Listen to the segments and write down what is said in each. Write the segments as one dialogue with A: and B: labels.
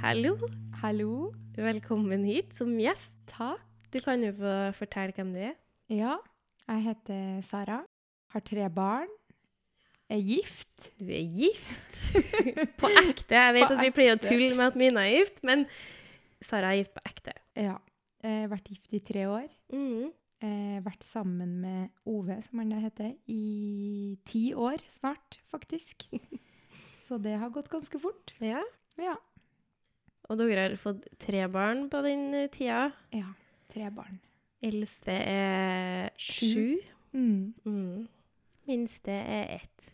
A: Hallo.
B: Hallo.
A: Velkommen hit som gjest.
B: Takk.
A: Du kan jo få fortelle hvem du er.
B: Ja, jeg heter Sara. Har tre barn. Er gift.
A: Du er gift! på ekte. Jeg vet
B: På
A: at vi pleier å
B: ekte.
A: tulle med at Mina er gift, men Sara er gift på ekte.
B: Ja. Eh, vært gift i tre år.
A: Mhm.
B: Eh, vært sammen med Ove, som han da heter, i ti år snart, faktisk. Så det har gått ganske fort.
A: Ja.
B: Ja.
A: Og dere har fått tre barn på den eh, tida.
B: ja. Tre barn.
A: Eldste er sju.
B: Sju. Mm.
A: Mhm. Minste er ett.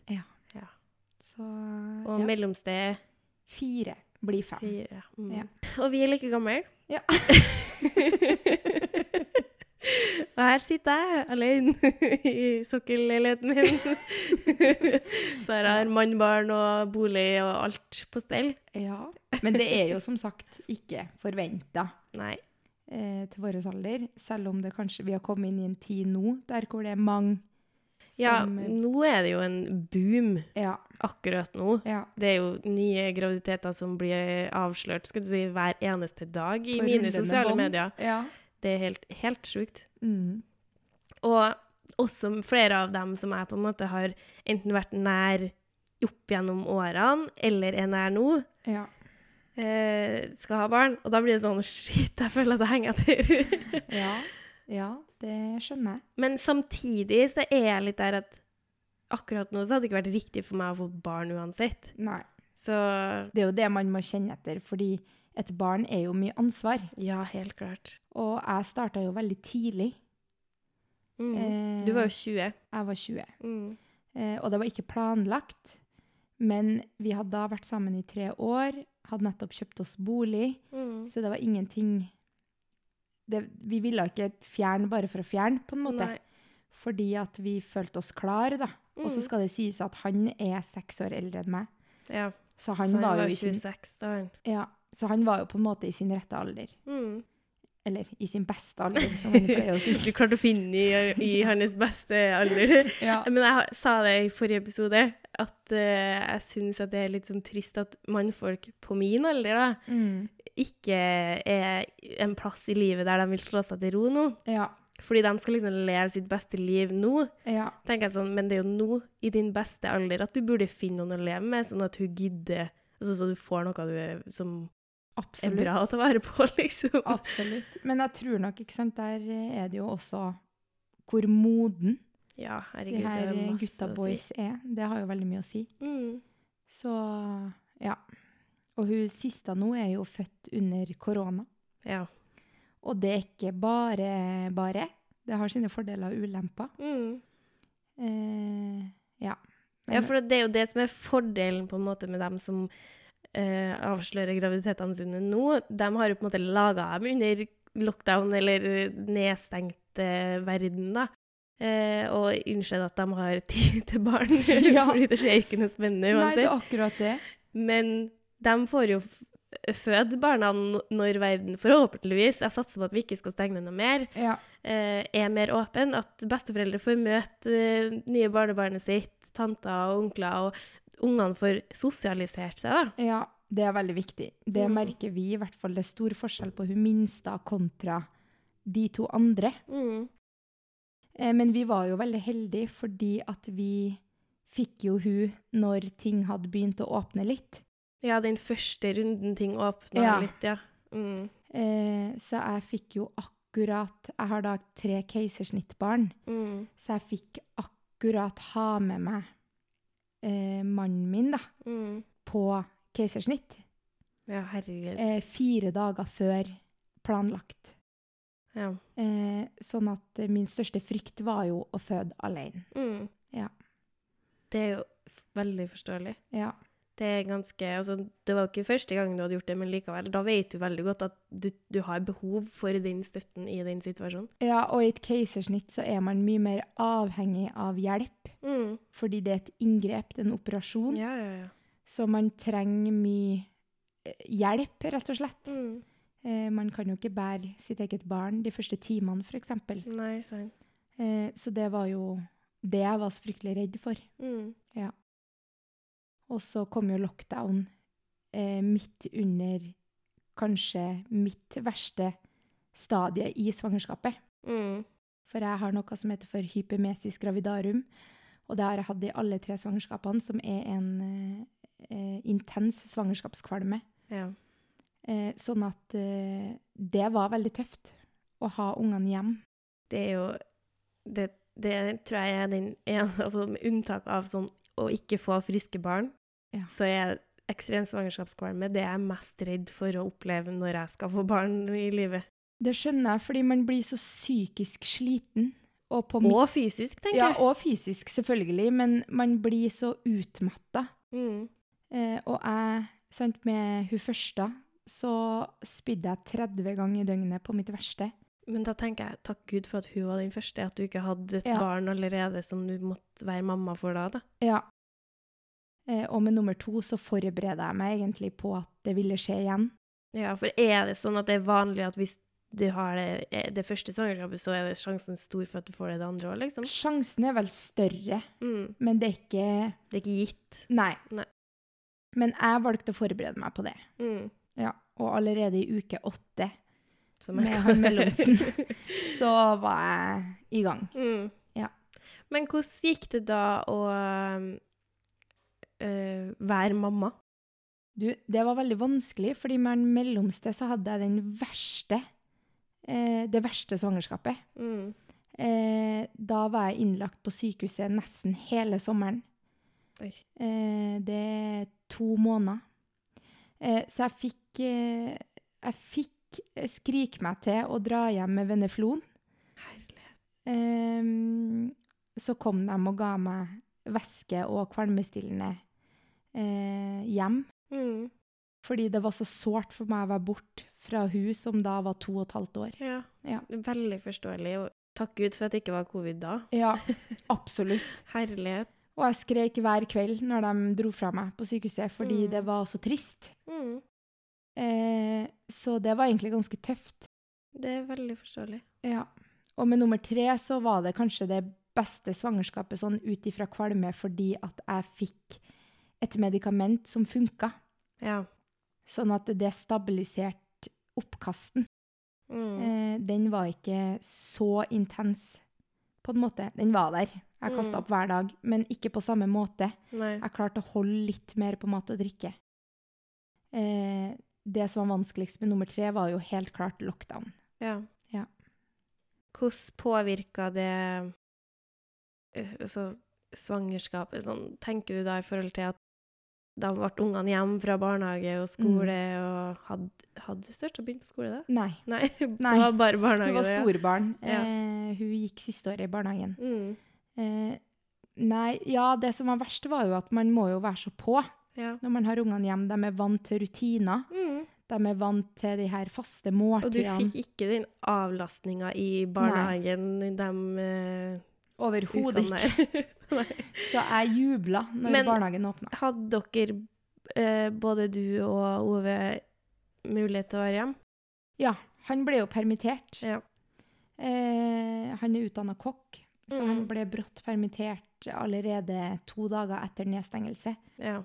B: Så
A: Og
B: ja.
A: mellomste er
B: fire blir fem.
A: fire. Mhm.
B: Ja.
A: Og vi er like gamle.
B: Mm. Ja.
A: Og her sitter jeg alene i sokkelleiligheten min. Sara har mann, barn og bolig og alt på stell.
B: Ja. Men det er jo som sagt ikke forventa.
A: Nei.
B: eh, til vår alder, selv om det kanskje vi har kommet inn i en tid nå der hvor det er mange
A: Ja,
B: som eh,
A: nå er det jo en boom
B: Ja.
A: akkurat nå.
B: ja
A: Det er jo nye graviditeter som blir avslørt skal du si, hver eneste dag i
B: på
A: mine
B: rullende
A: sosiale
B: bånd.
A: medier.
B: Ja.
A: Det er helt, helt sjukt.
B: Mm.
A: Og også flere av dem som jeg på en måte har enten vært nær opp gjennom årene, eller er nær nå,
B: ja.
A: eh, skal ha barn. Og da blir det sånn Shit, jeg føler at jeg henger etter.
B: Ja. Ja, det skjønner jeg.
A: Men samtidig så er jeg litt der at akkurat nå så hadde det ikke vært riktig for meg å få barn uansett.
B: Nei.
A: Så
B: Det er jo det man må kjenne etter, fordi et barn er jo mye ansvar.
A: ja, helt klart.
B: Og jeg starta jo veldig tidlig.
A: Mm.
B: Eh,
A: Du var jo 20.
B: Jeg var 20,
A: Mm.
B: eh, og det var ikke planlagt. Men vi hadde da vært sammen i tre år, hadde nettopp kjøpt oss bolig.
A: Mm.
B: Så det var ingenting det, Vi ville ikke fjerne bare for å fjerne, på en måte.
A: Nei.
B: Fordi at vi følte oss klare, da. Og så
A: Mm.
B: skal det sies at han er seks år eldre enn meg.
A: Ja.
B: Så han, var, jo i sin,
A: 26 da. han.
B: ja, så han var jo på en måte i sin rette alder.
A: Mm.
B: Eller i sin beste alder, som han pleier å
A: Du
B: si.
A: klarte å finne i, i hans beste alder.
B: Ja.
A: Men jeg har- sa det i forrige episode, at eh, jeg syns at det er litt sånn trist at mannfolk på min alder da,
B: Mm,
A: ikke er en plass i livet der de vil slå seg til ro nå.
B: ja.
A: Fordi de skal liksom leve sitt beste liv nå.
B: Ja.
A: tenker jeg sånn, Men det er jo nå, i din beste alder, at du burde finne noen å leve med, sånn at hun gidder. Altså, så du får noe du er, som er
B: Absolutt.
A: bra å ta vare på, liksom.
B: Absolutt. Men jeg tror nok, ikke sant, der eh, er det jo også hvor moden
A: Ja,
B: de
A: herregud,
B: her
A: det er
B: eh,
A: masse
B: gutta
A: å si.
B: boys er. Det har jo veldig mye å si.
A: Mm.
B: Så ja. Og hun siste nå er jo født under korona.
A: Ja.
B: Og det er ikke bare bare. Det har sine fordeler og ulemper.
A: Mm.
B: Eh, ja.
A: Ja, for det er jo det som er fordelen på en måte med dem som eh, avslører graviditetene sine nå. De har jo på en måte laga dem under lockdown eller nedstengt eh, verden, da. Eh, og innsett at de har tid til barn,
B: Ja.
A: fordi det skjer ikke noe spennende
B: Nei, det
A: uansett.
B: er akkurat det.
A: Men de får jo f- føde barna n- når verden forhåpentligvis, jeg satser på at vi ikke skal stenge ned noe mer,
B: Ja.
A: eh, er mer åpen, at besteforeldre får møte eh, nye barnebarnet sitt, tanter og onkler, og ungene får sosialisert seg, da.
B: ja. Det er veldig viktig. Det
A: Mm.
B: merker vi i hvert fall. Det er stor forskjell på hun minste kontra de to andre. Eh, men vi var jo veldig heldige fordi at vi fikk jo hun når ting hadde begynt å åpne litt.
A: Ja, den første runden ting åpna
B: Ja.
A: litt, ja. Mm.
B: Eh, så jeg fikk jo akkurat Jeg har da tre keisersnittbarn,
A: Mm.
B: så jeg fikk akkurat ha med meg eh, mannen min da,
A: Mm.
B: på keisersnitt.
A: Ja, herregud.
B: Eh, fire dager før planlagt.
A: Ja.
B: Eh, sånn at eh, min største frykt var jo å føde alene.
A: Mm.
B: Ja.
A: Det er jo f- veldig forståelig.
B: Ja.
A: Det er ganske, altså, det var jo ikke første gang du hadde gjort det, men likevel, da vet du veldig godt at du, du har behov for den støtten i den situasjonen.
B: ja, og i et keisersnitt så er man mye mer avhengig av hjelp.
A: Mm.
B: Fordi det er et inngrep, det er en operasjon.
A: Ja, ja, ja.
B: Så man trenger mye eh, hjelp, rett og slett.
A: Mm.
B: Eh, man kan jo ikke bære sitt eget barn de første timene, f.eks.
A: Nei, sant.
B: Eh, så det var jo det jeg var så fryktelig redd for.
A: Mm.
B: Og så kom jo lockdown eh, midt under kanskje mitt verste stadie i svangerskapet.
A: Mm.
B: For jeg har noe som heter for hypemesis gravidarum. Og det har jeg hatt i alle tre svangerskapene, som er en eh, eh, intens svangerskapskvalme.
A: Ja.
B: Eh, sånn at eh, det var veldig tøft å ha ungene hjem.
A: Det er jo Det, det tror jeg er den en, altså Med unntak av sånn å ikke få friske barn,
B: Ja.
A: så er ekstrem svangerskapskvalme det jeg er mest redd for å oppleve når jeg skal få barn i livet.
B: Det skjønner jeg, fordi man blir så psykisk sliten. Og, på mitt,
A: Og fysisk, tenker
B: ja,
A: jeg.
B: og fysisk, selvfølgelig, men man blir så utmatta.
A: Mm.
B: Eh, og jeg, sant, med hun første, så spydde jeg 30 ganger i døgnet på mitt verste.
A: Men da tenker jeg takk Gud for at hun var den første, at du ikke hadde et
B: Ja.
A: barn allerede som du måtte være mamma for da. da.
B: Ja. Eh, og med nummer to så forbereder jeg meg egentlig på at det ville skje igjen.
A: Ja, for er det sånn at det er vanlig at hvis du har det, eh, det første svangerskapet, så er det sjansen stor for at du får det det andre òg, liksom?
B: Sjansen er vel større,
A: Mm.
B: men det er ikke
A: Det er ikke gitt.
B: Nei.
A: Nei.
B: Men jeg valgte å forberede meg på det.
A: Mm.
B: Ja. Og allerede i uke åtte
A: Som jeg
B: med
A: kan-
B: han mellomsen, så var jeg i gang.
A: mm.
B: Ja.
A: Men hvordan gikk det da å um, eh, være mamma?
B: Du, det var veldig vanskelig, fordi med den mellomste så hadde jeg den verste, eh, det verste svangerskapet.
A: Mm.
B: Eh, da var jeg innlagt på sykehuset nesten hele sommeren.
A: Oi.
B: Eh, det er to måneder. Eh, så jeg fikk, eh, jeg fikk eh, skrike meg til å dra hjem med veneflon.
A: Herlighet.
B: Eh, så kom de og ga meg væske og kvalmestillende eh, hjem.
A: Mm.
B: Fordi det var så sårt for meg å være borte fra hun som da var to og et halvt år.
A: Ja.
B: Ja.
A: Veldig forståelig. Og takk Gud for at det ikke var covid da.
B: Ja, absolutt.
A: Herlighet.
B: Og jeg skrek hver kveld når de dro fra meg på sykehuset, fordi
A: Mm.
B: det var så trist.
A: Mm.
B: Eh, så det var egentlig ganske tøft.
A: Det er veldig forståelig.
B: Ja. Og med nummer tre så var det kanskje det beste svangerskapet sånn ut ifra kvalme, fordi at jeg fikk et medikament som funka,
A: Ja.
B: sånn at det stabiliserte oppkasten.
A: Mm.
B: Eh, den var ikke så intens, på en måte. Den var der. Jeg kasta
A: Mm.
B: opp hver dag, men ikke på samme måte.
A: Nei.
B: Jeg klarte å holde litt mer på mat og drikke. Eh, det som var vanskeligst med nummer tre, var jo helt klart lockdown.
A: Ja.
B: Ja.
A: Hvordan påvirka det eh, altså, svangerskapet? Sånn, tenker du da i forhold til at da ble ungene hjem fra barnehage og skole, og hadde, hadde du størst å begynne på skole da?
B: Nei.
A: Nei,
B: Nei.
A: det var bare
B: Hun
A: barnehage.
B: var
A: det, ja.
B: storbarn.
A: Ja.
B: Eh, hun gikk siste året i barnehagen.
A: Mm,
B: Eh, nei, ja, det som var verst, var jo at man må jo være så på
A: ja.
B: når man har ungene hjem. De er vant til rutiner.
A: Mm.
B: De er vant til de her faste
A: Og du
B: måltidene.
A: fikk ikke den avlastninga i barnehagen i de eh,
B: Overhodet
A: ukene
B: ikke.
A: der? Nei.
B: Så jeg jubla når
A: Men-
B: barnehagen åpna.
A: Hadde dere, eh, både du og Ove, mulighet til å være hjemme?
B: Ja, han ble jo permittert.
A: Ja.
B: Eh, han er utdanna kokk, så han
A: Mm.
B: ble brått permittert allerede to dager etter nedstengelse.
A: Ja.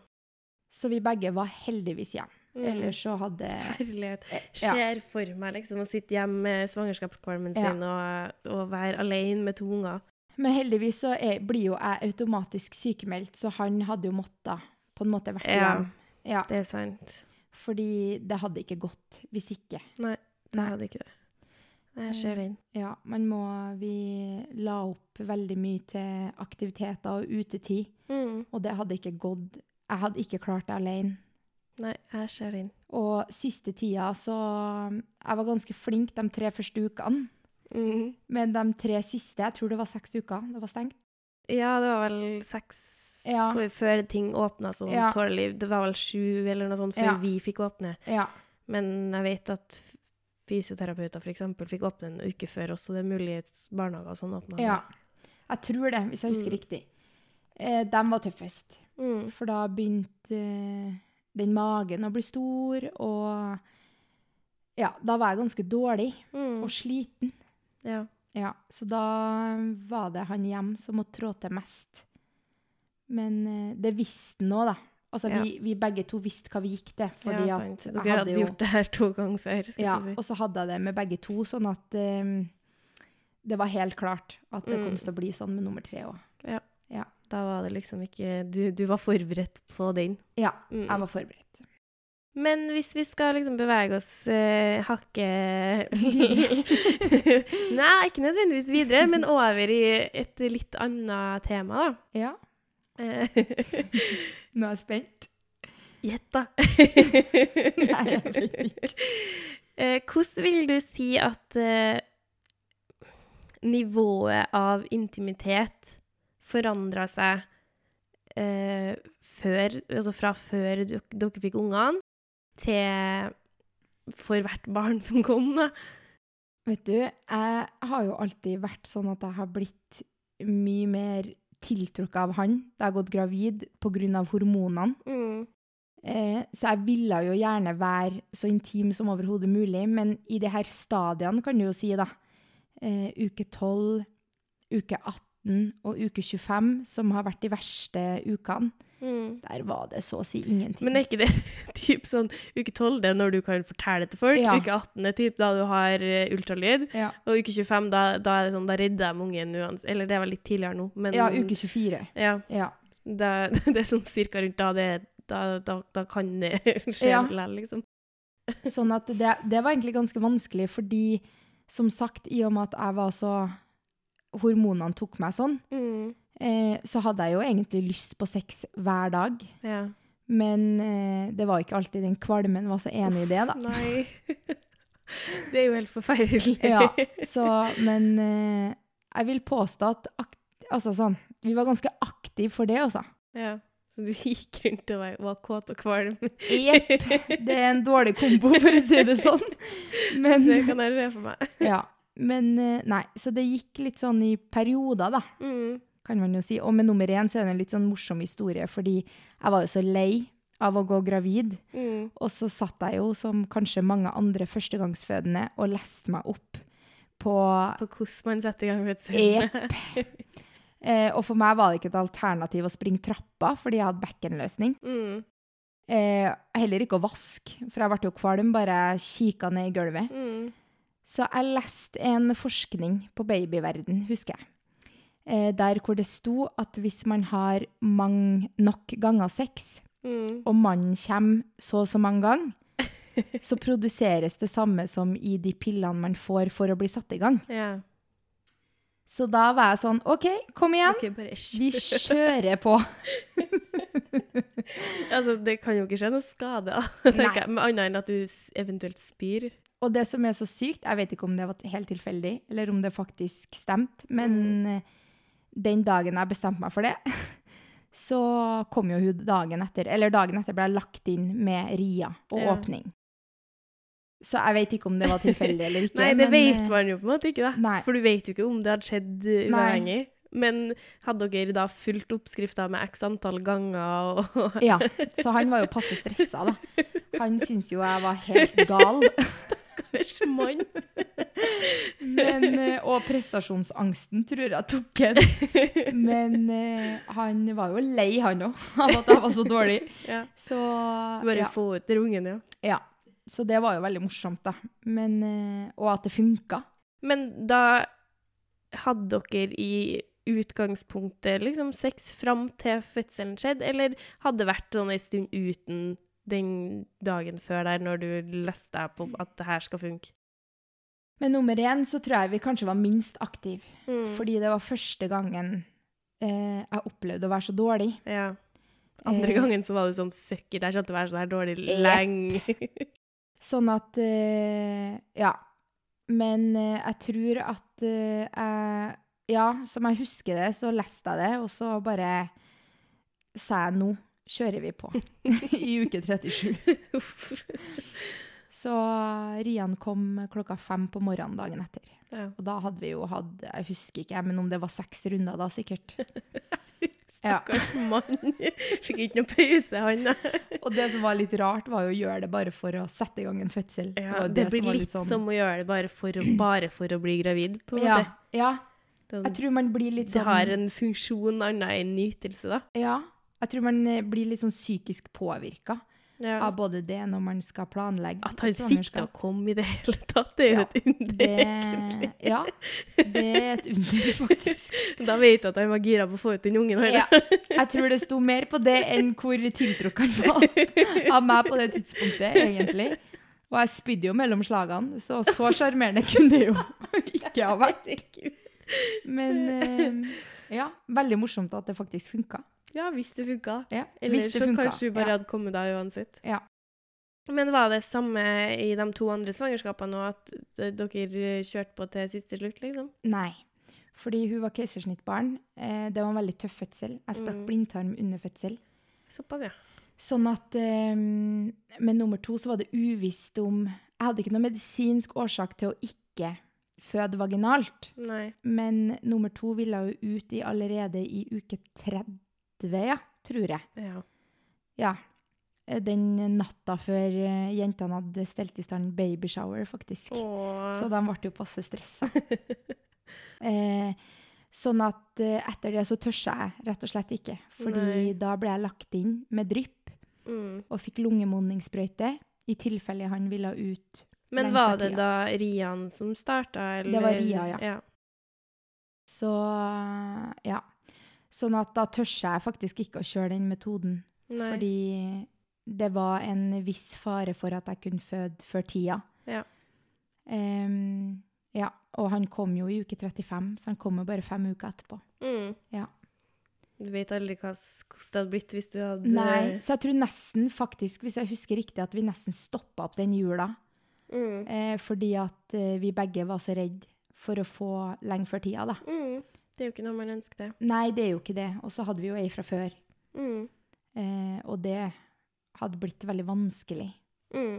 B: Så vi begge var heldigvis hjemme.
A: Mm.
B: Ellers så hadde
A: Herlighet.
B: ja.
A: Ser for meg liksom å sitte hjemme med svangerskapskvalmen
B: Ja.
A: sin og, og være alene med to unger.
B: Men heldigvis så er, blir jo jeg automatisk sykemeldt, så han hadde jo måttet på en måte vært
A: Ja.
B: hjemme. Ja,
A: Det er sant.
B: fordi det hadde ikke gått hvis ikke.
A: Det
B: Nei.
A: hadde ikke det. Nei, Jeg ser den.
B: Ja, man må Vi la opp veldig mye til aktiviteter og utetid.
A: Mm.
B: Og det hadde ikke gått. Jeg hadde ikke klart det alene.
A: Nei, jeg ser den.
B: Og siste tida så um, Jeg var ganske flink de tre første ukene.
A: Mm.
B: Men de tre siste, jeg tror det var seks uker, det var stengt.
A: Ja, det var vel seks
B: Ja.
A: f- før ting åpna som
B: Ja.
A: tålelig. Det var vel sju eller noe sånt før
B: Ja.
A: vi fikk åpne.
B: Ja.
A: Men jeg vet at f- fysioterapeuter for eksempel fikk åpne en uke før oss, så det er mulig at barnehager og sånn åpna.
B: ja. Jeg tror det, hvis jeg husker riktig. Eh, de var tøffest.
A: Mm.
B: For da begynte eh, den magen å bli stor, og Ja, da var jeg ganske dårlig
A: Mm.
B: og sliten.
A: Ja.
B: Ja, så da um, var det han hjem som måtte trå til mest. Men eh, det visste han òg, da. Altså,
A: Ja.
B: vi, vi begge to visste hva vi gikk til. Fordi
A: ja,
B: at
A: sant.
B: jeg
A: Dere hadde
B: jo-
A: gjort det her to ganger før. skal
B: Ja,
A: jeg
B: og så hadde jeg det med begge to, sånn at eh, det var helt klart at det
A: Mm.
B: kom til å bli sånn med nummer tre òg.
A: si. Da var det liksom ikke Du, du var forberedt på den.
B: Ja,
A: Mm.
B: jeg var forberedt.
A: Men hvis vi skal liksom bevege oss eh, hakket Nei, ikke nødvendigvis videre, men over i et litt annet tema, da.
B: Ja,
A: Eh,
B: nå er jeg spent.
A: Gjett, da.
B: Nei, jeg vet
A: Eh, Hvordan vil du si at eh, nivået av intimitet forandra seg eh, før, altså fra før dere, dere fikk ungene, til for hvert barn som kom? da?
B: Vet du, jeg har jo alltid vært sånn at jeg har blitt mye mer tiltrukket av han da jeg har gått gravid pga. hormonene. Eh, så jeg ville jo gjerne være så intim som overhodet mulig, men i de her stadiene kan du jo si, da, eh, uke 12, uke 18 og uke 25, som har vært de verste ukene, der var det så å si ingenting.
A: Men er ikke det typ sånn uke 12 det er når du kan fortelle til folk?
B: Ja.
A: Uke 18 er typ da du har eh, ultralyd?
B: ja.
A: Og uke 25, da, da er det sånn, da redder de ungen uansett. Eller det var litt tidligere nå, men
B: ja, uke 24.
A: ja,
B: Ja.
A: det, det er sånn cirka rundt da det da, da, da kan det skje
B: Ja.
A: likevel, liksom.
B: Sånn at det, det var egentlig ganske vanskelig, fordi som sagt, i og med at jeg var så Hormonene tok meg sånn,
A: Mm.
B: eh, så hadde jeg jo egentlig lyst på sex hver dag.
A: Ja.
B: Men eh, det var ikke alltid den kvalmen var så enig i det, da.
A: Nei. det er jo helt forferdelig.
B: Ja, så, men eh, jeg vil påstå at ak altså, sånn, vi var ganske aktive for det, altså.
A: Ja. Så du gikk rundt og var, var kåt og kvalm.
B: Jepp. Det er en dårlig kombo, for å si det sånn. Men,
A: Det kan jeg se for meg.
B: ja, men eh, nei, så det gikk litt sånn i perioder, da.
A: Mm.
B: kan man jo si. Og med nummer én så er det en litt sånn morsom historie, fordi jeg var jo så lei av å gå gravid.
A: Mm.
B: Og så satt jeg jo, som kanskje mange andre førstegangsfødende, og leste meg opp på
A: På hvordan man setter i gang fødselen.
B: Jepp. Eh, og for meg var det ikke et alternativ å springe trappa, fordi jeg hadde bekkenløsning.
A: Mm.
B: Eh, heller ikke å vaske, for jeg ble jo kvalm bare jeg kikka ned i gulvet.
A: Mm.
B: Så jeg leste en forskning på babyverden, husker jeg. Eh, der hvor det sto at hvis man har mang nok ganger sex,
A: Mm.
B: og mannen kommer så og så mange ganger, så produseres det samme som i de pillene man får for å bli satt i gang.
A: Ja.
B: Så da var jeg sånn OK, kom igjen.
A: Ikke bare æsj.
B: Vi kjører på.
A: Altså, det kan jo ikke skje noe skade, da,
B: Nei.
A: tenker jeg. Men annet enn at du s- eventuelt spyr.
B: Og det som er så sykt, jeg vet ikke om det var helt tilfeldig, eller om det faktisk stemte, men
A: Mm.
B: eh, den dagen jeg bestemte meg for det, så kom jo hun dagen etter, eller dagen etter ble jeg lagt inn med ria og
A: Ja.
B: åpning. Så jeg vet ikke om det var tilfeldig eller ikke.
A: Nei, det
B: men,
A: vet
B: eh,
A: man jo på en måte ikke, da.
B: Nei.
A: For du vet jo ikke om det hadde skjedd eh,
B: Nei.
A: uavhengig. Men hadde dere da fulgt oppskrifta med x antall ganger og
B: Ja, så han var jo passe stressa, da. Han syntes jo jeg var helt gal.
A: Stakkars mann!
B: Men, eh, og prestasjonsangsten tror jeg tok en. Men eh, han var jo lei, han òg, av at jeg var så dårlig.
A: Ja.
B: Så,
A: Bare
B: ja,
A: få ut den ungen, ja.
B: ja. så det var jo veldig morsomt, da. Men, eh, og at det funka.
A: Men da hadde dere i utgangspunktet liksom sex fram til fødselen skjedde, eller hadde det vært sånn en stund uten den dagen før der, når du leste deg på at det her skal funke?
B: Men nummer én så tror jeg vi kanskje var minst aktive.
A: Mm.
B: Fordi det var første gangen eh, jeg opplevde å være så dårlig.
A: Ja. Andre
B: Eh,
A: gangen så var du sånn fuck it, jeg kjente å være sånn her dårlig
B: Jepp.
A: lenge.
B: Sånn at eh, Ja. Men eh, jeg tror at eh, jeg Ja, som jeg husker det, så leste jeg det, og så bare sa jeg nå kjører vi på. I uke 37.
A: Uff.
B: Så Rian kom klokka fem på morgenen dagen etter.
A: Ja.
B: Og da hadde vi jo hatt Jeg husker ikke, jeg, men om det var seks runder da, sikkert.
A: Stakkars mann. Fikk ikke noe pause, han.
B: Og det som var litt rart, var jo å gjøre det bare for å sette i gang en fødsel.
A: Ja,
B: var jo
A: det blir
B: som var sånn
A: litt, som å gjøre det bare for, å- bare for å bli gravid, på en
B: ja,
A: måte.
B: ja,
A: Den,
B: jeg tror man blir litt
A: det
B: sånn
A: har en funksjon annet enn nytelse, da.
B: Ja. Jeg tror man eh, blir litt sånn psykisk påvirka
A: Ja.
B: av både det når man skal planlegge sånn
A: At han fikk til
B: svangerskap.
A: å komme i det hele tatt, det er jo
B: Ja,
A: et under, egentlig.
B: det, ja, det er et under, faktisk.
A: Da vet du at han var gira på å få ut den ungen. her.
B: Ja, jeg tror det sto mer på det enn hvor tiltrukket han var av meg på det tidspunktet, egentlig. Og jeg spydde jo mellom slagene, så så sjarmerende kunne det jo ikke ha vært.
A: Herregud.
B: Men eh, ja, veldig morsomt at det faktisk funka.
A: Ja, hvis det funka.
B: Ja,
A: Eller
B: hvis det
A: så
B: funka.
A: kanskje hun bare
B: ja.
A: hadde kommet da uansett.
B: Ja.
A: Men var det samme i de to andre svangerskapene òg, at eh, dere kjørte på til siste slutt, liksom?
B: Nei. Fordi hun var keisersnittbarn. Eh, det var en veldig tøff fødsel. Jeg sprakk
A: Mm.
B: blindtarm under fødsel.
A: Såpass, ja.
B: Sånn at eh, Med nummer to så var det uvisst om Jeg hadde ikke noen medisinsk årsak til å ikke føde vaginalt.
A: Nei.
B: Men nummer to ville jo ut i allerede i uke 30, ja, tror jeg.
A: Ja.
B: Ja. Eh, Den natta før eh, jentene hadde stelt i stand babyshower, faktisk.
A: Åh.
B: Så de ble jo passe stressa. eh, sånn at eh, etter det så tørsa jeg rett og slett ikke. Fordi
A: Nei.
B: da ble jeg lagt inn med drypp
A: Mm.
B: og fikk lungemonningssprøyte. I tilfelle han ville ut.
A: Men
B: Lenge
A: var
B: for
A: det
B: tida.
A: da Rian som starta, eller?
B: var Ria, ja.
A: ja.
B: Så ja. Sånn at da tørsa jeg faktisk ikke å kjøre den metoden.
A: Nei.
B: Fordi det var en viss fare for at jeg kunne føde før tida.
A: Ja.
B: Em, ja. Og han kom jo i uke 35, så han kom jo bare fem uker etterpå.
A: mm.
B: Ja.
A: Du vet aldri hva, s- hvordan det hadde blitt hvis du hadde
B: Nei, så jeg tror nesten faktisk, hvis jeg husker riktig, at vi nesten stoppa opp den jula.
A: Mm.
B: Eh, fordi at eh, vi begge var så redd for å få lenge før tida, da.
A: Mm. Det er jo ikke noe man ønsker det.
B: Nei, det er jo ikke det. Og så hadde vi jo ei fra før.
A: Mm.
B: Eh, og det hadde blitt veldig vanskelig.
A: Mm.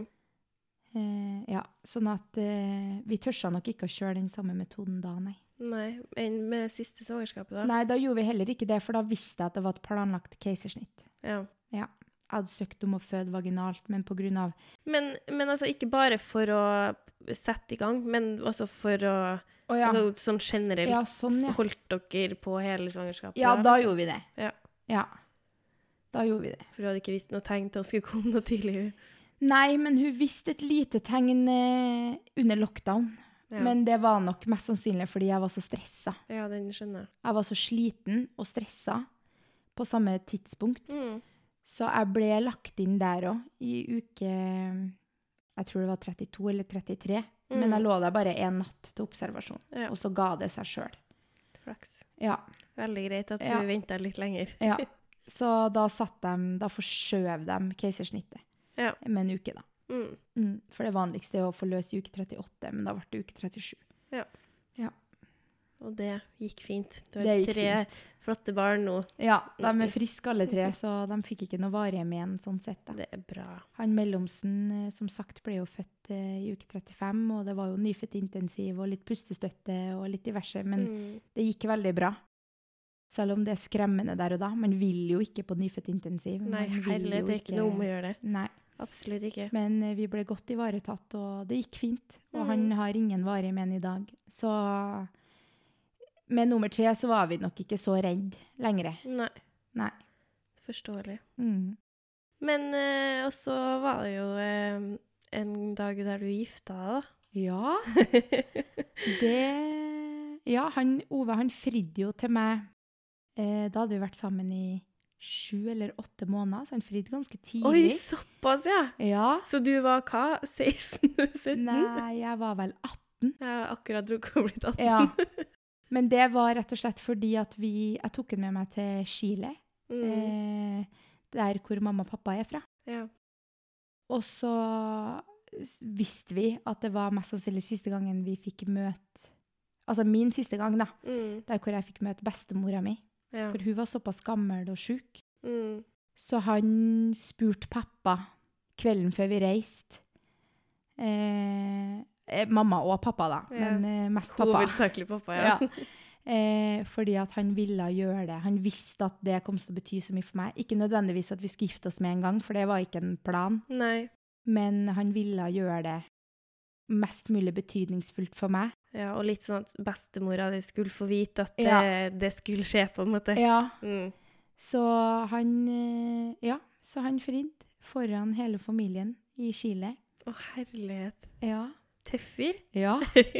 B: Eh, ja, sånn at eh, vi tørsa nok ikke å kjøre den samme metoden da, nei.
A: Nei. Enn med siste svangerskapet, da?
B: Nei, da gjorde vi heller ikke det, for da visste jeg at det var et planlagt keisersnitt.
A: Ja.
B: Jeg hadde søkt om å føde vaginalt, men pga.
A: Men, men altså, ikke bare for å sette i gang, men også for å
B: Å ja.
A: altså, Sånn generelt.
B: ja, sånn, ja.
A: Holdt dere på hele svangerskapet?
B: Ja, da
A: liksom?
B: gjorde vi det.
A: Ja.
B: ja. Da gjorde vi det.
A: For du hadde ikke visst noe tegn til å skulle komme noe tidlig?
B: Nei, men hun visste et lite tegn eh, under lockdown.
A: Ja,
B: Men det var nok mest sannsynlig fordi jeg var så stressa.
A: ja den skjønner jeg.
B: Jeg var så sliten og stressa på samme tidspunkt.
A: Mm.
B: Så jeg ble lagt inn der òg, i uke Jeg tror det var 32 eller 33.
A: mm.
B: Men jeg lå der bare en natt til observasjon,
A: Ja.
B: og så ga det seg sjøl.
A: Flaks.
B: Ja,
A: Veldig greit at
B: Ja.
A: hun venta litt lenger.
B: ja. Så da satt de Da forskjøv de keisersnittet
A: Ja.
B: med en uke, da.
A: Mm.
B: Mm, for det vanligste er å få løs i uke 38, men da ble det uke 37.
A: Og det gikk fint. Du
B: Det
A: har
B: gikk
A: tre flotte barn nå.
B: Ja, de er friske alle tre, så de fikk ikke noe varighet igjen sånn sett. Da.
A: Det er bra.
B: Han Mellomsen, eh, som sagt, ble jo født eh, i uke 35, og det var jo nyfødt intensiv og litt pustestøtte og litt diverse, men
A: Mm.
B: det gikk veldig bra. Selv om det er skremmende der og da. Man vil jo ikke på nyfødt intensiv.
A: Nei,
B: man vil
A: herlig,
B: jo
A: det er ikke noe om å gjøre det.
B: Nei,
A: Absolutt ikke.
B: men eh, vi ble godt ivaretatt, og det gikk fint. Og
A: Mm.
B: han har ingen varig men i dag. Så med nummer tre så var vi nok ikke så redd lenger.
A: Nei.
B: Nei.
A: Forståelig.
B: Mm.
A: Men eh, også var det jo eh, en dag der du gifta deg,
B: Ja,
A: da.
B: det Ja, han Ove, han fridde jo til meg eh, Da hadde vi vært sammen i sju eller åtte måneder, så han fridde ganske
A: Oi,
B: tidlig.
A: såpass, ja!
B: Ja.
A: Så du var hva? 16-17?
B: Nei, jeg var vel 18.
A: Jeg har akkurat drukket og blitt 18.
B: Ja. Men det var rett og slett fordi at vi Jeg tok han med meg til Chile,
A: Mm.
B: eh, der hvor mamma og pappa er fra.
A: ja.
B: Og så s- visste vi at det var mest sannsynlig siste gangen vi fikk møte Altså min siste gang, da.
A: Mm.
B: Der hvor jeg fikk møte bestemora mi.
A: ja.
B: For hun var såpass gammel og sjuk.
A: Mm.
B: Så han spurte pappa kvelden før vi reiste. Eh, eh, mamma og pappa, da,
A: Ja.
B: men eh, mest pappa.
A: Hovedsakelig pappa, ja.
B: Ja. Eh, fordi at han ville gjøre det. Han visste at det kom til å bety så mye for meg. Ikke nødvendigvis at vi skulle gifte oss med en gang, for det var ikke en plan.
A: Nei.
B: Men han ville gjøre det mest mulig betydningsfullt for meg.
A: Ja, og litt sånn at bestemora di skulle få vite at
B: Ja.
A: det, det skulle skje, på en måte.
B: Ja,
A: Mm.
B: Så han eh, Ja, så han fridde foran hele familien i Chile.
A: Å, herlighet.
B: Ja.
A: Tøffer.
B: Ja.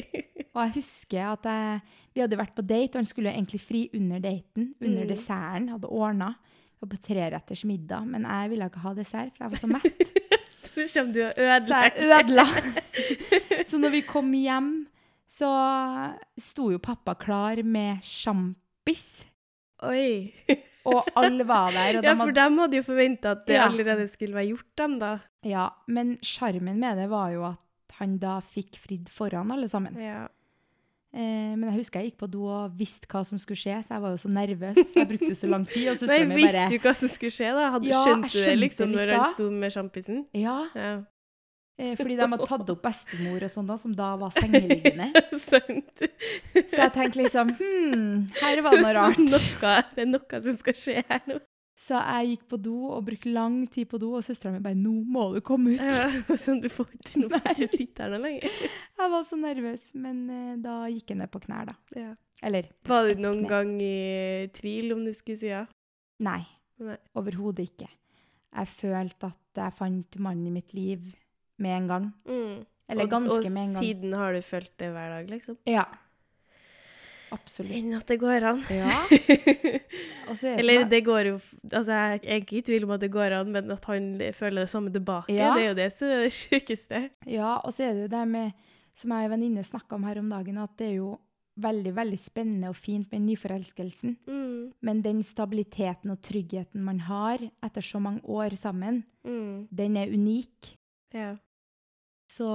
B: Og jeg husker at jeg, vi hadde vært på date, og han skulle egentlig fri under daten. Under
A: Mm.
B: desserten. Hadde ordna. Vi var På treretters middag. Men jeg ville ikke ha dessert, for jeg var så mett.
A: Så kommer du og
B: Så jeg
A: ødelegger.
B: ødela. Så når vi kom hjem, så sto jo pappa klar med sjampis.
A: Oi.
B: Og alle var der. Og
A: Ja,
B: de
A: for
B: hadde,
A: dem hadde jo forventa at det
B: Ja.
A: allerede skulle være gjort, dem da.
B: ja, men sjarmen med det var jo at han da fikk fridd foran alle sammen.
A: Ja.
B: Eh, men jeg husker jeg gikk på do og visste hva som skulle skje, så jeg var jo så nervøs. Så jeg brukte så lang tid. Og
A: Nei,
B: søsteren min
A: visste
B: bare
A: du hva som skulle skje, da? Hadde,
B: Ja, jeg
A: skjønte du det
B: skjønte
A: liksom
B: litt
A: når
B: da.
A: han sto med sjampisen?
B: Ja,
A: Ja.
B: eh, fordi de hadde tatt opp bestemor og sånn da, som da var sengeliggende.
A: Sant.
B: Så jeg tenkte liksom Hm, her var det noe rart.
A: Noe, det er noe som skal skje her nå.
B: Så jeg gikk på do og brukte lang tid på do, og søstera mi bare 'Nå må du komme ut'.
A: Ja, sånn, du får ikke, nå får du ikke sitte her noe lenger.
B: Jeg var så nervøs, men eh, da gikk jeg ned på knær, da.
A: Ja.
B: Eller
A: Var
B: ett
A: du noen
B: kne.
A: gang i tvil om du skulle si ja?
B: Nei.
A: Nei.
B: Overhodet ikke. Jeg følte at jeg fant mannen i mitt liv med en gang. Eller
A: Mm. og,
B: ganske
A: og
B: med en gang.
A: siden har du følt det hver dag, liksom?
B: Ja. Absolutt.
A: Enn at det går an.
B: Ja. Og så er det
A: Eller
B: sånn at-
A: det går jo Altså, jeg er ikke i tvil om at det går an, men at han føler det samme tilbake,
B: Ja.
A: det er jo det som er det sjukeste.
B: Ja, og så er det jo det med, som jeg og en venninne snakka om her om dagen, at det er jo veldig, veldig spennende og fint med nyforelskelsen.
A: Mm.
B: Men den stabiliteten og tryggheten man har etter så mange år sammen,
A: Mm.
B: den er unik.
A: Ja.
B: Så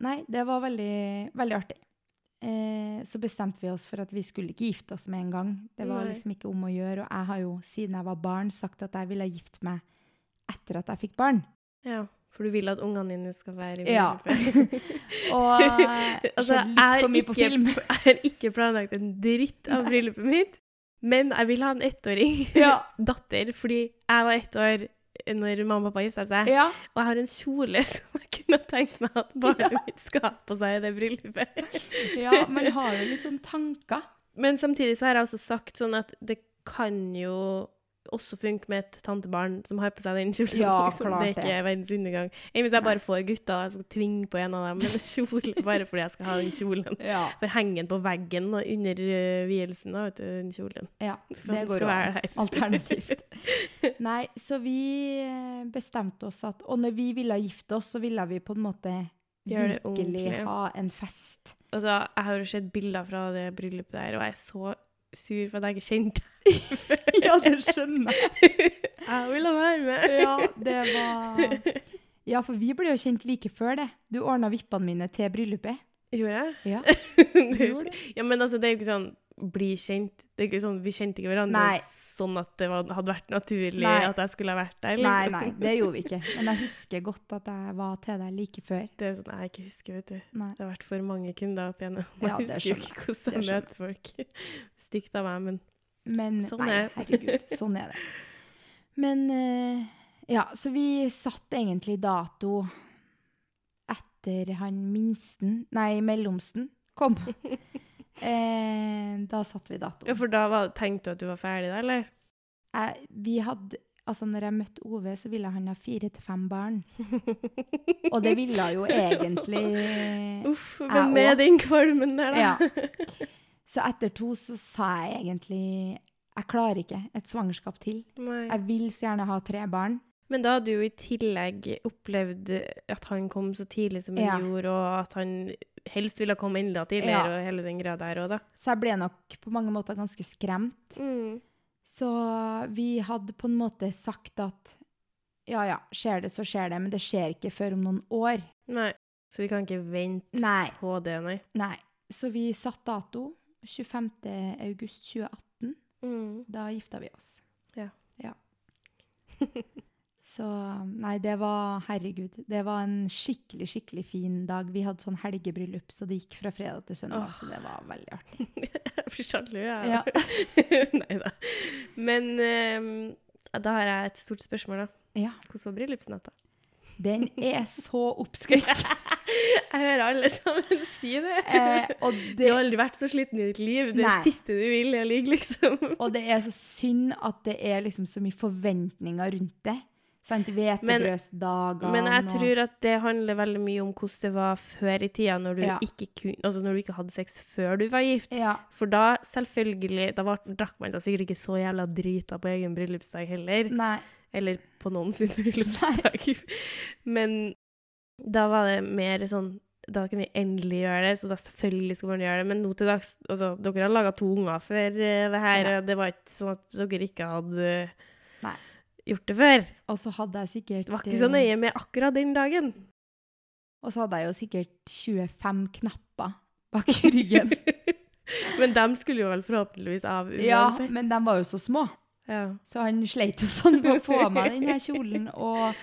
B: nei, det var veldig, veldig artig. Eh, så bestemte vi oss for at vi skulle ikke gifte oss med en gang. Det var
A: Nei.
B: liksom ikke om å gjøre, og jeg har jo siden jeg var barn sagt at jeg ville gifte meg etter at jeg fikk barn.
A: ja. For du vil at ungene dine skal være i
B: Ja.
A: bryllupet.
B: Og jeg
A: Altså, jeg
B: skjedde litt
A: er
B: for mye på
A: ikke-
B: film.
A: Jeg har ikke planlagt en dritt av bryllupet mitt, men jeg vil ha en ettåring.
B: Ja.
A: Datter, fordi jeg var ett år når mamma og pappa gifta seg,
B: Ja,
A: og jeg har en kjole som jeg kunne tenkt meg at barnet mitt skal ha på seg i det bryllupet.
B: ja, man har jo litt sånn tanker.
A: Men samtidig så har jeg også sagt sånn at det kan jo også funke med et tantebarn som har på seg den kjolen. liksom.
B: Ja,
A: det er
B: klart det.
A: ikke verdens undergang. Enn hvis jeg bare får gutta, jeg skal tvinge på en av dem en kjole bare fordi jeg skal ha den kjolen.
B: Ja.
A: For henge den på veggen og under eh, vielsen, da, vet du, den kjolen.
B: Ja,
A: For at
B: det
A: den
B: går
A: skal
B: jo
A: være
B: an.
A: her.
B: Alternativt. Nei, så vi eh, bestemte oss at Og når vi ville gifte oss, så ville vi på en måte
A: Gjøre det ordentlig.
B: virkelig ha en fest.
A: Altså, jeg har jo sett bilder fra det bryllupet der, og jeg er så sur for at jeg ikke kjente
B: Ja, det skjønner jeg.
A: Jeg ville være med!
B: Ja, det var Ja, for vi ble jo kjent like før det. Du ordna vippene mine til bryllupet.
A: Gjorde jeg?
B: Ja.
A: Det
B: Gjorde
A: er- ja, men altså, det er jo ikke sånn bli kjent. Det er ikke sånn, Vi kjente ikke hverandre
B: Nei.
A: sånn at det var, hadde vært naturlig
B: Nei.
A: at jeg skulle ha vært der. liksom.
B: Nei, nei, det gjorde vi ikke. Men jeg husker godt at jeg var til deg like før.
A: Det er jo sånn jeg ikke husker, vet du.
B: Nei.
A: Det har vært for mange kunder opp igjennom. Jeg
B: Ja, det
A: husker jo ikke hvordan jeg
B: Det
A: møter folk. Stygt av meg, men
B: Men
A: Sånn
B: nei,
A: er det.
B: herregud, sånn er det. Men eh, ja, så vi satt egentlig dato etter han minsten, nei, mellomsten, kom. Eh, da satt vi dato.
A: Ja, for da var, tenkte du at du var ferdig da, eller?
B: Jeg, vi hadde, altså når jeg møtte Ove, så ville han ha fire til fem barn. Og det ville jo egentlig
A: Uff, men
B: Jeg
A: med
B: òg.
A: den kvalmen der, da.
B: Ja. Så etter to så sa jeg egentlig jeg klarer ikke et svangerskap til.
A: Nei.
B: Jeg vil så gjerne ha tre barn.
A: Men da hadde du jo i tillegg opplevd at han kom så tidlig som han
B: Ja.
A: gjorde, og at han helst ville komme enda tidligere,
B: Ja.
A: og hele den greia der òg, da.
B: Så jeg ble nok på mange måter ganske skremt.
A: Mm.
B: Så vi hadde på en måte sagt at ja, ja, skjer det, så skjer det, men det skjer ikke før om noen år.
A: Nei. Så vi kan ikke vente
B: Nei,
A: på det, nei.
B: nei. Så vi satt dato 25. august 2018.
A: Mm.
B: Da gifta vi oss.
A: Ja.
B: ja. Så um, nei, det var Herregud. Det var en skikkelig, skikkelig fin dag. Vi hadde sånn helgebryllup, så det gikk fra fredag til søndag.
A: Åh.
B: Så det var veldig artig.
A: Jeg blir sjalu, jeg.
B: Ja.
A: nei da. Men ehm, da har jeg et stort spørsmål, da.
B: Ja.
A: Hvordan var bryllupsnatta?
B: Den er så oppskrytt.
A: Jeg Jeg hører alle sammen si det.
B: Eh, og,
A: Du
B: det
A: har aldri vært så sliten i ditt liv. Det
B: Nei.
A: siste du vil, er å ligge, liksom.
B: og det er så synd at det er liksom så mye forventninger rundt det. Sant?
A: Men-
B: Hvetebrødsdagene
A: Men jeg
B: og-
A: tror at det handler veldig mye om hvordan det var før i tida, når du,
B: Ja.
A: ikke, kun, altså når du ikke hadde sex før du var gift.
B: Ja.
A: For da, selvfølgelig, da var, drakk man da sikkert ikke så jævla drita på egen bryllupsdag heller.
B: Nei.
A: Eller på noen sin bryllupsdag. Men da var det mer sånn Da kan vi endelig gjøre det, så da selvfølgelig skal man gjøre det. Men nå til dags altså, Dere har laga to unger før eh, det her.
B: Ja.
A: og Det var ikke sånn at dere ikke hadde eh,
B: Nei.
A: gjort det før.
B: Og så hadde jeg sikkert eh,
A: Det var ikke så nøye med akkurat den dagen.
B: Og så hadde jeg jo sikkert 25 knapper bak i ryggen.
A: Men dem skulle jo vel forhåpentligvis av
B: ja,
A: uansett.
B: men de var jo så små,
A: Ja.
B: så han sleit jo sånn med å få av meg den her kjolen. Og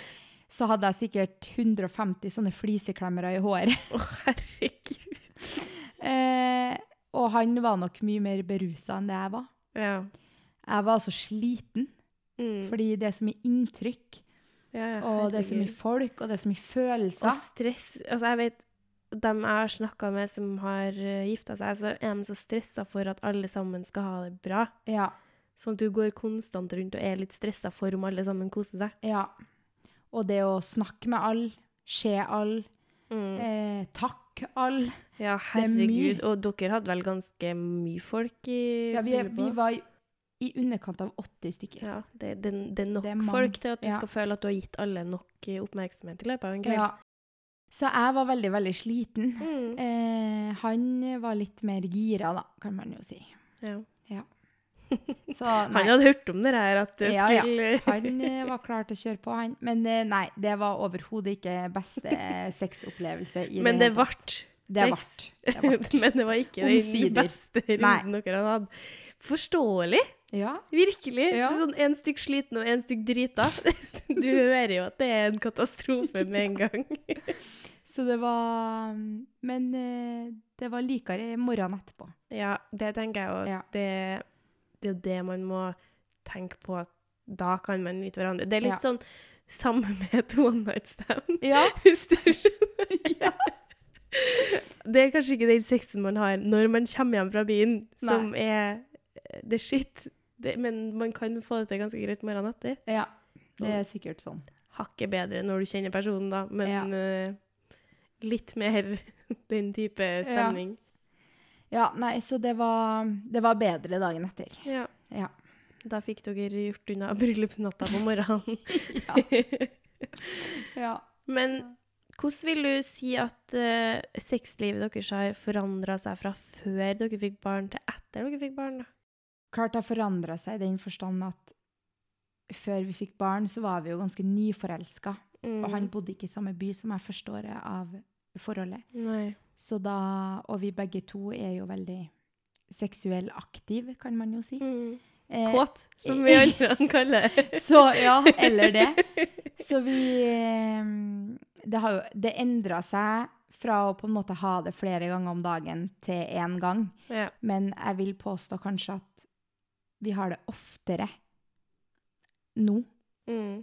B: så hadde jeg sikkert 150 sånne fliseklemmere i håret.
A: Å, herregud.
B: Eh, og han var nok mye mer berusa enn det jeg var.
A: Ja.
B: Jeg var så sliten,
A: Mm.
B: fordi det er så mye inntrykk,
A: ja, ja,
B: og det er så
A: herregud.
B: mye folk, og det er så mye
A: Og
B: følelser.
A: stress Altså, jeg vet dem jeg har snakka med som har eh, gifta seg, så er de så stressa for at alle sammen skal ha det bra.
B: Ja,
A: Sånn at du går konstant rundt og er litt stressa for om alle sammen koser seg.
B: ja. Og det å snakke med alle, se alle,
A: Mm.
B: eh, takke alle.
A: Ja,
B: er mye.
A: herregud. Og dere hadde vel ganske mye folk i
B: Ja, vi,
A: bryllupet
B: vi
A: også?
B: var i, i underkant av 80 stykker.
A: ja, det, det, det er nok
B: Det er mange.
A: folk til at du
B: Ja.
A: skal føle at du har gitt alle nok eh, oppmerksomhet i løpet av en kveld.
B: Ja. Så jeg var veldig, veldig sliten.
A: Mm.
B: Eh, han var litt mer gira, da, kan man jo si.
A: Ja.
B: Så
A: Han
B: nei,
A: hadde hørt om det her, at det
B: Ja, ja.
A: skulle
B: han eh, var klar til å kjøre på, han. Men eh, nei, det var overhodet ikke beste sexopplevelse i
A: Men det
B: det hele
A: ble
B: tatt. Det
A: sex.
B: vart. Det vart.
A: Men det var ikke den
B: Omsider.
A: beste runden dere hadde hatt. Forståelig,
B: Ja.
A: virkelig.
B: Ja.
A: Sånn én stykk sliten og én stykk drita. Du hører jo at det er en katastrofe med en gang.
B: Så det var Men eh, det var likere morgenen etterpå.
A: Ja, det tenker jeg jo.
B: Ja.
A: Det, det er jo det man må tenke på. at Da kan man nyte hverandre. Det er litt
B: Ja.
A: sånn samme med et one night stand.
B: Ja.
A: Hvis du skjønner. Det er kanskje ikke den sexen man har når man kommer hjem fra byen, som er eh, the shit. Det, men man kan få det til ganske greit morgenen etter.
B: ja. Det er sikkert sånn.
A: Hakket bedre når du kjenner personen, da, men
B: Ja.
A: eh, litt mer den type stemning.
B: Ja, nei, så det var, det var bedre dagen etter.
A: Ja.
B: Ja.
A: Da fikk dere gjort unna bryllupsnatta på morgenen.
B: Ja.
A: Men hvordan vil du si at eh, sexlivet deres har forandra seg fra før dere fikk barn, til etter dere fikk barn? da?
B: klart det har forandra seg i den forstand at før vi fikk barn, så var vi jo ganske nyforelska. Og
A: Mm.
B: han bodde ikke i samme by som jeg første året av forholdet.
A: Mm. Nei.
B: Så da, og vi begge to er jo veldig seksuell aktiv, kan man jo si. Eh,
A: Mm. Kåt, som vi andre kaller det.
B: så ja, eller det. Så vi eh, Det har jo Det endra seg fra å på en måte ha det flere ganger om dagen til én gang.
A: Ja.
B: Men jeg vil påstå kanskje at vi har det oftere nå
A: Mm.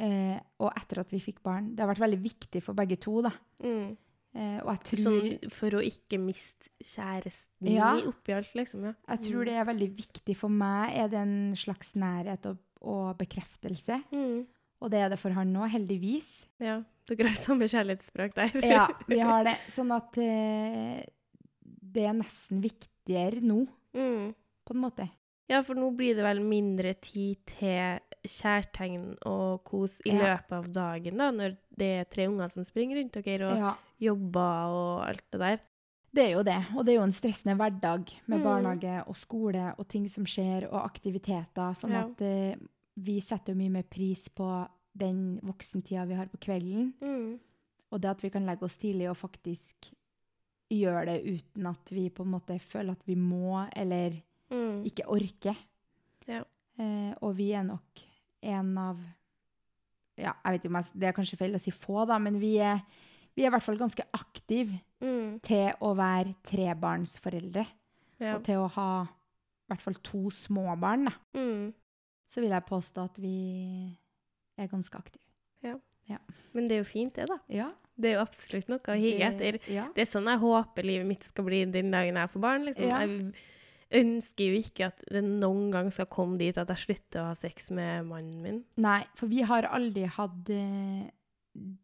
B: eh, og etter at vi fikk barn. Det har vært veldig viktig for begge to, da.
A: Mm.
B: Eh, og jeg tror,
A: Sånn for å ikke miste kjæresten
B: Ja.
A: i oppi alt, liksom. Ja.
B: jeg tror det er veldig viktig for meg, er det en slags nærhet og, og bekreftelse.
A: Mm.
B: Og det er det for han nå, heldigvis.
A: ja. Dere har samme kjærlighetsspråk der.
B: Ja, vi har det. Sånn at eh, det er nesten viktigere nå,
A: Mm.
B: på en måte.
A: Ja, for nå blir det vel mindre tid til kjærtegn og kos i
B: Ja.
A: løpet av dagen, da, når det er tre unger som springer rundt dere og
B: Ja,
A: jobber og alt det der.
B: det er jo det. Og det er jo en stressende hverdag
A: Mm.
B: med barnehage og skole og ting som skjer, og aktiviteter. Sånn
A: Ja.
B: at eh, vi setter jo mye mer pris på den voksentida vi har på kvelden. Og det at vi kan legge oss tidlig og faktisk gjøre det uten at vi på en måte føler at vi må eller
A: Mm.
B: ikke orker.
A: Ja.
B: Eh, og vi er nok en av ja, jeg vet ikke om jeg, Det er kanskje feil å si få, da, men vi er, vi er i hvert fall ganske aktive
A: Mm.
B: til å være trebarnsforeldre.
A: Ja.
B: Og til å ha i hvert fall to små barn, da.
A: Mm.
B: Så vil jeg påstå at vi er ganske aktive. Ja.
A: Men det er jo fint, det, da.
B: Ja.
A: Det er jo absolutt noe å hige etter.
B: Ja.
A: Det er sånn jeg håper livet mitt skal bli den dagen jeg får barn. Liksom.
B: Ja.
A: Jeg ønsker jo ikke at det noen gang skal komme dit at jeg slutter å ha sex med mannen min.
B: Nei, for vi har aldri hatt eh,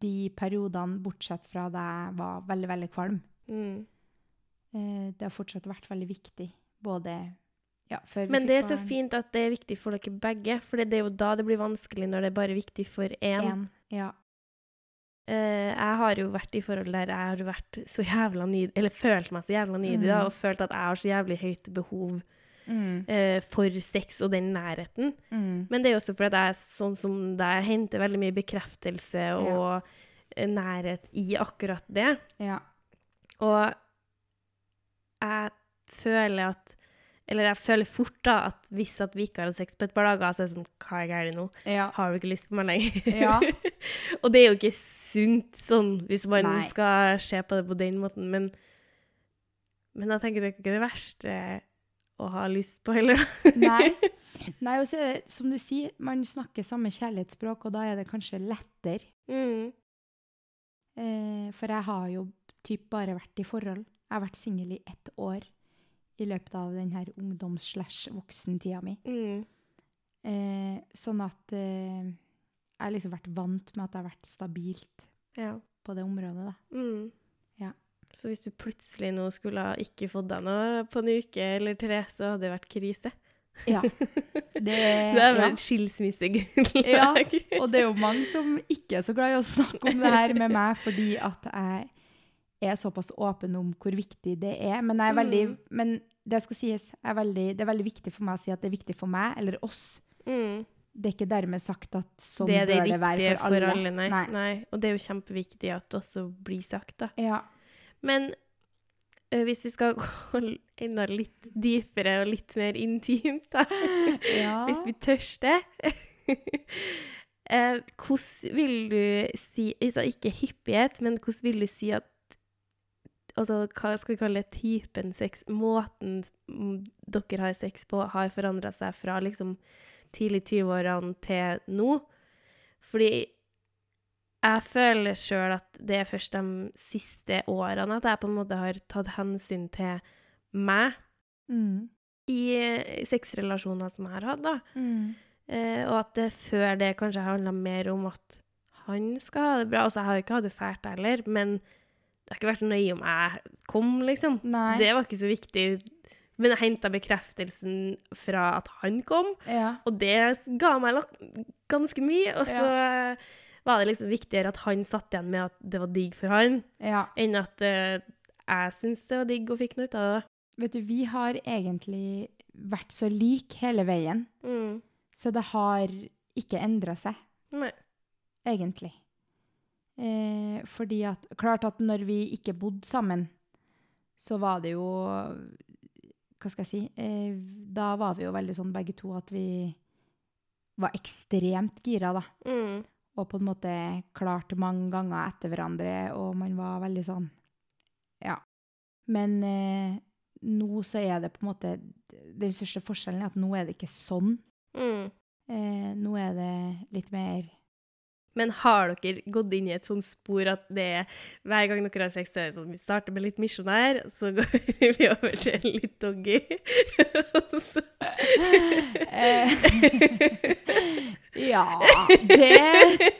B: de periodene, bortsett fra da jeg var veldig, veldig kvalm.
A: Mm.
B: Eh, det har fortsatt vært veldig viktig, både ja, før vi
A: Men
B: fikk
A: det er så
B: barn,
A: fint at det er viktig for dere begge, for det er jo da det blir vanskelig når det er bare viktig for én.
B: en. Ja.
A: Eh, jeg har jo vært i forhold der jeg har vært så jævla nid, eller følt meg så jævla nidig, da,
B: Mm.
A: og følt at jeg har så jævlig høyt behov eh, for sex og den nærheten.
B: Mm.
A: Men det er jo også fordi at jeg er sånn som deg, jeg henter veldig mye bekreftelse og eh, nærhet i akkurat det.
B: Ja.
A: Og jeg føler at Eller jeg føler fort da at hvis at vi ikke har hatt sex på et par dager, så er det sånn Hva er galt nå?
B: Ja.
A: Har du ikke lyst på meg lenger?
B: Ja.
A: og det er jo ikke sunt sånn, hvis man
B: Nei.
A: skal se på det på den måten, men Men jeg tenker det er ikke det verste å ha lyst på heller, da.
B: Nei. Nei, og så er det, som du sier, man snakker samme kjærlighetsspråk, og da er det kanskje lettere.
A: Mm.
B: Eh, for jeg har jo typ bare vært i forhold. Jeg har vært singel i ett år i løpet av den her ungdoms-slash-voksentida mi.
A: Mm.
B: Eh, sånn at eh, jeg har liksom vært vant med at jeg har vært stabilt
A: Ja.
B: på det området, da.
A: Mm.
B: Ja.
A: Så hvis du plutselig nå skulle ha ikke fått deg noe på en uke eller tre, så hadde det vært krise.
B: Ja. Det,
A: Det er vel
B: Eh, ja.
A: et skilsmissegrunnlag.
B: Ja, og det er jo mange som ikke er så glad i å snakke om det her med meg, fordi at jeg er såpass åpen om hvor viktig det er. Men, jeg er veldig,
A: Mm.
B: men det skal sies, jeg er veldig, det er veldig viktig for meg å si at det er viktig for meg eller oss.
A: Mm.
B: Det er ikke dermed sagt at sånn
A: det er det
B: bør det være
A: riktige
B: for alle.
A: nei. Nei. Og det er jo kjempeviktig at det også blir sagt, da.
B: Ja.
A: Men ø, hvis vi skal gå l- enda litt dypere og litt mer intimt, da,
B: ja.
A: hvis vi tør det Eh, Hvordan vil du si altså Ikke hyppighet, men hvordan vil du si at Altså, hva skal vi kalle det? Typen sex, måten mm, dere har sex på, har forandra seg fra liksom tidlig 20-årene til nå. Fordi jeg føler sjøl at det er først de siste årene at jeg på en måte har tatt hensyn til meg
B: Mm.
A: i eh, sexrelasjoner som jeg har hatt, da.
B: Mm.
A: Eh, og at det før det kanskje handla mer om at han skal ha det bra. Altså, jeg har jo ikke hatt det fælt heller, men det har ikke vært nøye om jeg kom, liksom.
B: Nei.
A: Det var ikke så viktig. Men jeg henta bekreftelsen fra at han kom,
B: Ja.
A: og det ga meg lak- ganske mye. Og så eh, var det liksom viktigere at han satt igjen med at det var digg for han,
B: ja.
A: enn at eh, jeg syntes det var digg og fikk noe ut av det.
B: Vet du, vi har egentlig vært så lik hele veien,
A: Mm.
B: så det har ikke endra seg.
A: Nei.
B: egentlig. Eh, fordi at Klart at når vi ikke bodde sammen, så var det jo Hva skal jeg si? Eh, da var vi jo veldig sånn begge to at vi var ekstremt gira, da.
A: Mm.
B: Og på en måte klarte mange ganger etter hverandre, og man var veldig sånn Ja. Men eh, nå så er det på en måte Den største forskjellen er at nå er det ikke sånn.
A: Mm.
B: Eh, nå er det litt mer
A: Men har dere gått inn i et sånt spor at det er hver gang dere har sex, så er det sånn Vi starter med litt misjonær, så går vi over til litt doggy. Og så-
B: Eh, Ja, det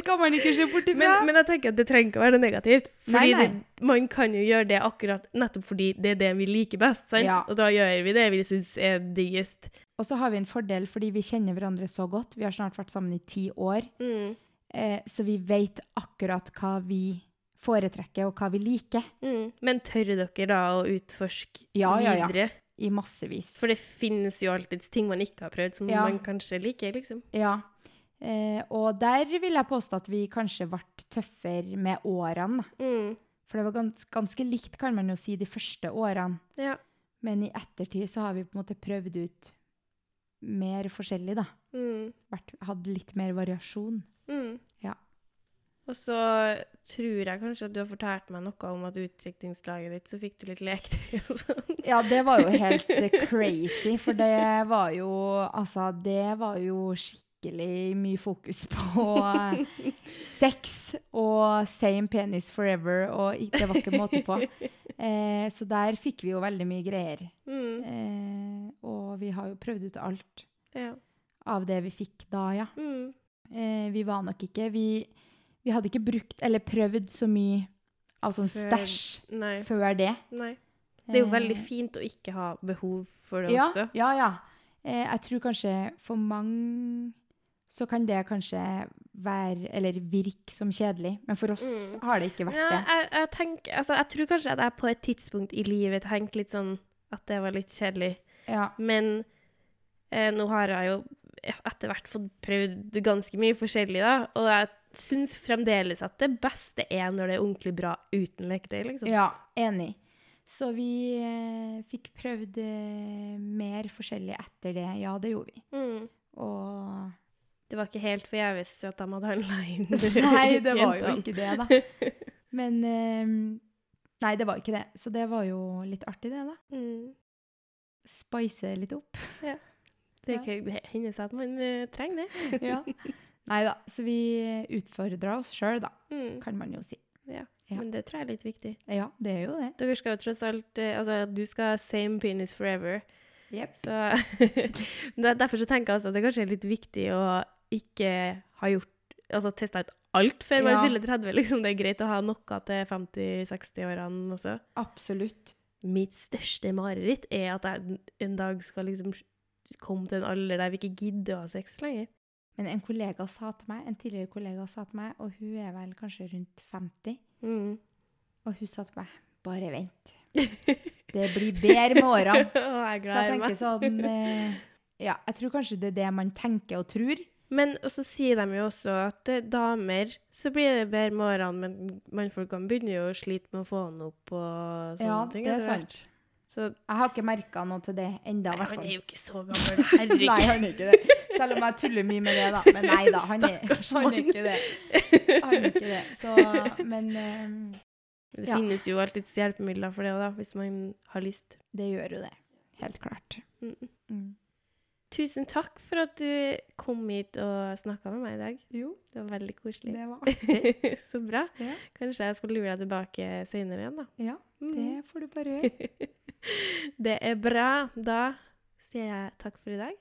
B: skal man ikke se bort ifra.
A: men, men jeg tenker at det trenger ikke å være noe negativt. Fordi
B: Nei, nei.
A: Det, man kan jo gjøre det akkurat nettopp fordi det er det vi liker best, sant?
B: Ja.
A: Og da gjør vi det vi syns er diggest.
B: og så har vi en fordel fordi vi kjenner hverandre så godt. Vi har snart vært sammen i ti år,
A: Mm.
B: eh, så vi vet akkurat hva vi foretrekker og hva vi liker
A: Mm. Men tør dere da å utforske
B: Ja, ja, ja.
A: videre?
B: i massevis.
A: For det finnes jo alltids ting man ikke har prøvd, som
B: Ja.
A: man kanskje liker, liksom.
B: ja. eh, og der vil jeg påstå at vi kanskje ble tøffere med årene. da.
A: Mm.
B: For det var gans ganske likt, kan man jo si, de første årene.
A: Ja.
B: Men i ettertid så har vi på en måte prøvd ut mer forskjellig, da.
A: Mm.
B: Vært, hadde litt mer variasjon.
A: Mm.
B: Ja.
A: Og så tror jeg kanskje at du har fortalt meg noe om at utdrikningslaget ditt, så fikk du litt leketøy og sånn.
B: Ja, det var jo helt eh, crazy, for det var jo Altså, det var jo skikkelig skikkelig mye fokus på eh, sex og same penis forever, og i- det var ikke måte på. Eh, så der fikk vi jo veldig mye greier.
A: Mm.
B: Eh, og vi har jo prøvd ut alt
A: Ja.
B: av det vi fikk da, ja.
A: Mm.
B: Eh, vi var nok ikke vi, vi hadde ikke brukt eller prøvd så mye av sånn
A: Før-
B: stæsj
A: Nei.
B: før det.
A: Nei. Det er jo veldig
B: Eh,
A: fint å ikke ha behov for det
B: ja,
A: også.
B: Ja, ja. Eh, jeg tror kanskje for mange så kan det kanskje være, eller virke som kjedelig. Men for oss
A: Mm.
B: har det ikke vært
A: Ja,
B: det.
A: jeg, jeg, tenker, altså, jeg tror kanskje at jeg på et tidspunkt i livet tenkte litt sånn at det var litt kjedelig.
B: Ja.
A: Men eh, nå har jeg jo etter hvert fått prøvd ganske mye forskjellig, da. Og jeg syns fremdeles at det beste er når det er ordentlig bra uten leketøy, liksom.
B: ja, enig. Så vi eh, fikk prøvd eh, mer forskjellig etter det. Ja, det gjorde vi.
A: Mm.
B: Og
A: Det var ikke helt forgjeves at de hadde handla inn
B: Nei, det var jo
A: jentene.
B: ikke det, da. Men eh, Nei, det var ikke det. Så det var jo litt artig, det, da.
A: Mm.
B: Spice litt opp.
A: Det er ikke- det hender seg at man eh, trenger det.
B: Ja. Nei da. Så vi utfordra oss sjøl, da,
A: Mm.
B: kan man jo si. Ja.
A: Men det tror jeg er litt viktig.
B: Ja, det er jo det.
A: Dere skal jo tross alt eh, Altså, du skal ha same penis forever.
B: Jepp.
A: Så Men det er Derfor så tenker jeg altså at det kanskje er litt viktig å ikke ha gjort Altså testa ut alt før man
B: Ja.
A: fyller 30. Liksom. Det er greit å ha noe til 50-60-årene også.
B: Absolutt.
A: Mitt største mareritt er at jeg en dag skal liksom komme til en alder der vi ikke gidder å ha sex lenger.
B: Men en kollega sa til meg, en tidligere kollega sa til meg, og hun er vel kanskje rundt 50,
A: Mm.
B: og hun sa til meg bare vent. Det blir bedre med årene.
A: Å, jeg
B: Så jeg
A: gleder
B: tenker
A: meg.
B: sånn eh, Ja, jeg tror kanskje det er det man tenker og tror.
A: Men så sier de jo også at eh, damer så blir det bedre med årene, men mannfolkene begynner jo å slite med å få den opp og sånne
B: ja,
A: ting.
B: det er
A: etter hvert.
B: sant.
A: Så
B: Jeg har ikke merka noe til det enda,
A: Nei,
B: i hvert
A: han er
B: fall.
A: jo ikke så gammel, herregud.
B: Nei, han er ikke det. Selv om jeg tuller mye med det, da. Men nei da, han er,
A: Stakkars
B: han er
A: mann.
B: ikke det. Han er ikke det. Så, men eh,
A: Det
B: Ja.
A: finnes jo alltids hjelpemidler for det òg, hvis man har lyst.
B: det gjør jo det. Helt klart.
A: Mm.
B: Mm.
A: Tusen takk for at du kom hit og snakka med meg i dag.
B: Jo,
A: Det var veldig koselig.
B: det var artig.
A: så bra.
B: Ja.
A: Kanskje jeg skal lure deg tilbake seinere igjen, da.
B: Ja,
A: Mm.
B: det får du bare gjøre.
A: det er bra. Da sier jeg takk for i dag.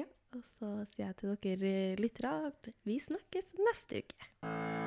B: Ja.
A: Og så sier jeg til dere eh, lyttere at vi snakkes neste uke.